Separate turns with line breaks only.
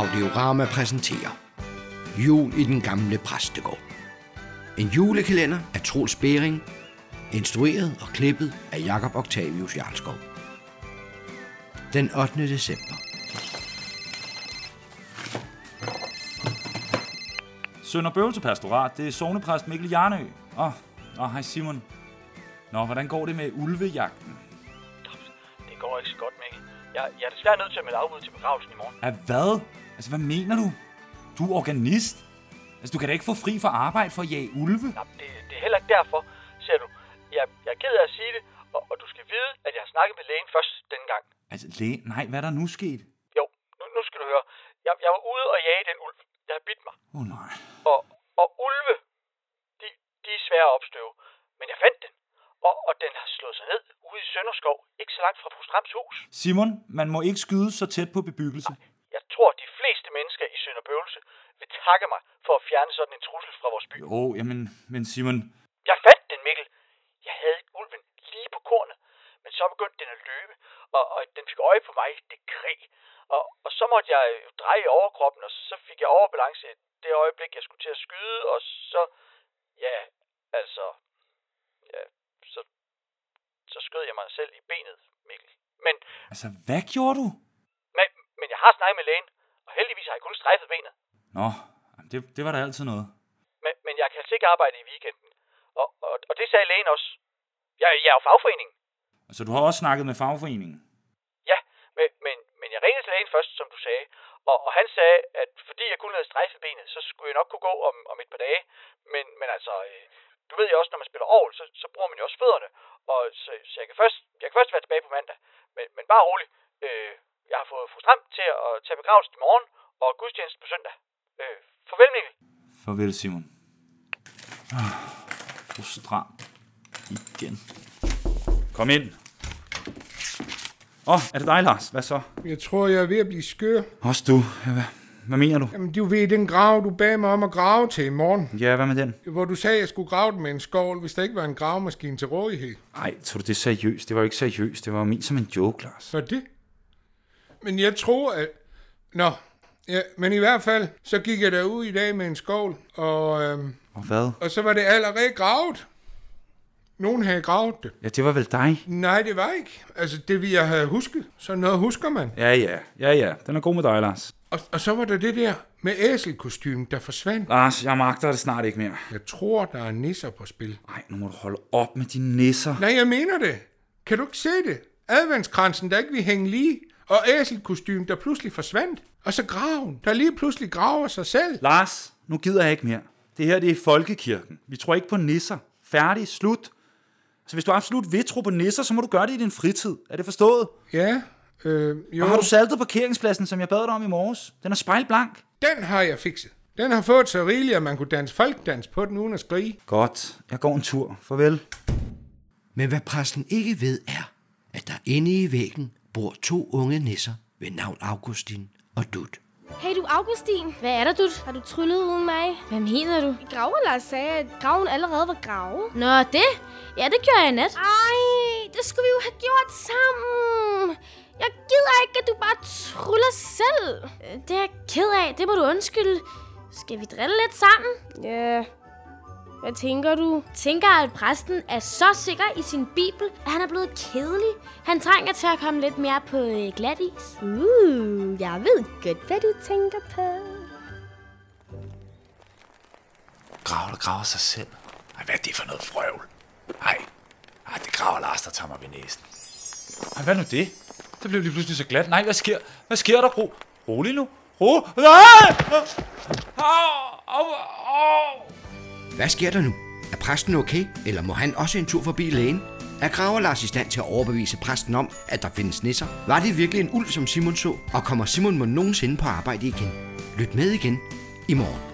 Audiorama præsenterer Jul i den gamle præstegård. En julekalender af Troels Bering, instrueret og klippet af Jakob Octavius Jarlskov. Den 8. december.
Sønder Bøvelse Pastorat, det er sovnepræst Mikkel Jarnø. Åh, oh, oh, hej Simon. Nå, hvordan går det med ulvejagten?
Det går ikke så godt, Mikkel. Jeg, jeg er desværre nødt til at melde afbud til begravelsen i morgen.
Af hvad? Altså, hvad mener du? Du er organist? Altså, du kan da ikke få fri fra arbejde for at jage ulve?
Nej, det, det er heller ikke derfor, ser du. Jeg, jeg er ked af at sige det, og, og du skal vide, at jeg har snakket med lægen først denne gang.
Altså, læge... Nej, hvad er der nu sket?
Jo, nu, nu skal du høre. Jeg, jeg var ude og jage den ulv. Jeg har bidt mig.
Åh, oh, nej.
Og, og ulve, de, de er svære at opstøve. Men jeg fandt den, og, og den har slået sig ned ude i Sønderskov, ikke så langt fra Prostrams hus.
Simon, man må ikke skyde så tæt på bebyggelse.
Jeg tror, de fleste mennesker i Sønderbøvelse vil takke mig for at fjerne sådan en trussel fra vores by.
Jo, jamen, men Simon...
Jeg fandt den, Mikkel. Jeg havde ulven lige på kornet, men så begyndte den at løbe, og, og den fik øje på mig. Det krig. Og, og så måtte jeg øh, dreje i overkroppen, og så fik jeg overbalance i det øjeblik, jeg skulle til at skyde, og så... Ja, altså... Ja, så, så skød jeg mig selv i benet, Mikkel. Men,
Altså, hvad gjorde du?
men, men jeg har snakket med lægen, og heldigvis har jeg kun strejfet benet.
Nå, jamen, det, det var da altid noget.
Men, men jeg kan altså ikke arbejde i weekenden. Og, og, og det sagde lægen også. Jeg, jeg er jo fagforeningen.
Altså, du har også snakket med fagforeningen.
Ja, men, men, men jeg ringede til lægen først, som du sagde. Og, og han sagde, at fordi jeg kun havde strejfet benet, så skulle jeg nok kunne gå om, om et par dage. Men, men altså, øh, du ved jo også, når man spiller ovl, så, så bruger man jo også fødderne. Og så, så jeg, kan først, jeg kan først være tilbage på mandag. Men, men bare rolig. Øh, jeg har fået fru Stram til at tage begravelsen i morgen, og gudstjeneste på søndag. Øh, farvel, Mikkel.
Farvel, Simon. Ah, Frustram. Igen. Kom ind. Åh, oh, er det dig, Lars? Hvad så?
Jeg tror, jeg er ved at blive skør.
Også du. Ja, Hvad, hvad mener du?
Jamen, du ved, den grav, du bad mig om at grave til i morgen,
Ja, hvad med den?
hvor du sagde, at jeg skulle grave den med en skovl, hvis der ikke var en gravemaskine til rådighed.
Nej, tror du det er seriøst? Det var jo ikke seriøst. Det var jo ment som en joke, Lars.
Så det. Men jeg tror, at... Nå, ja, men i hvert fald, så gik jeg derud i dag med en skovl, og, øhm,
Og hvad?
og så var det allerede gravet. Nogen havde gravet det.
Ja, det var vel dig?
Nej, det var ikke. Altså, det vi jeg havde husket. Så noget husker man.
Ja, ja. Ja, ja. Den er god med dig, Lars.
Og, og så var der det der med æselkostymen, der forsvandt.
Lars, jeg magter det snart ikke mere.
Jeg tror, der er nisser på spil.
Nej, nu må du holde op med dine nisser.
Nej, jeg mener det. Kan du ikke se det? Adventskransen, der ikke vil hænge lige, og æselkostymen, der pludselig forsvandt, og så graven, der lige pludselig graver sig selv.
Lars, nu gider jeg ikke mere. Det her, det er folkekirken. Vi tror ikke på nisser. Færdig, slut. Så hvis du absolut vil tro på nisser, så må du gøre det i din fritid. Er det forstået?
Ja, øh, jo.
Og har du saltet parkeringspladsen, som jeg bad dig om i morges? Den er spejlblank.
Den har jeg fikset. Den har fået så rigeligt, at man kunne danse folkdans på den uden at skrige.
Godt. Jeg går en tur. Farvel.
Men hvad præsten ikke ved er, at der inde i væggen bor to unge nisser ved navn Augustin og Dut.
Hey du, Augustin. Hvad er der, du? Har du tryllet uden mig? Hvad mener du? Graverlars sagde, at graven allerede var gravet. Nå, det? Ja, det gjorde jeg i nat. Ej, det skulle vi jo have gjort sammen. Jeg gider ikke, at du bare tryller selv. Øh, Det er jeg ked af. Det må du undskylde. Skal vi drille lidt sammen? Ja. Hvad tænker du? Tænker, at præsten er så sikker i sin bibel, at han er blevet kedelig. Han trænger til at komme lidt mere på øh, glat is. Uh, jeg ved godt, hvad du tænker på.
graver, der graver sig selv. Ej, hvad er det for noget frøvl? Ej, Ej det graver Lars, der tager mig ved næsen. Ej, hvad nu det? Det blev lige pludselig så glat. Nej, hvad sker, hvad sker der, Ro? Rolig nu. Ro. Nej! Au, au, au.
Hvad sker der nu? Er præsten okay, eller må han også en tur forbi lægen? Er Graver Lars i stand til at overbevise præsten om, at der findes nisser? Var det virkelig en ulv, som Simon så? Og kommer Simon må nogensinde på arbejde igen? Lyt med igen i morgen.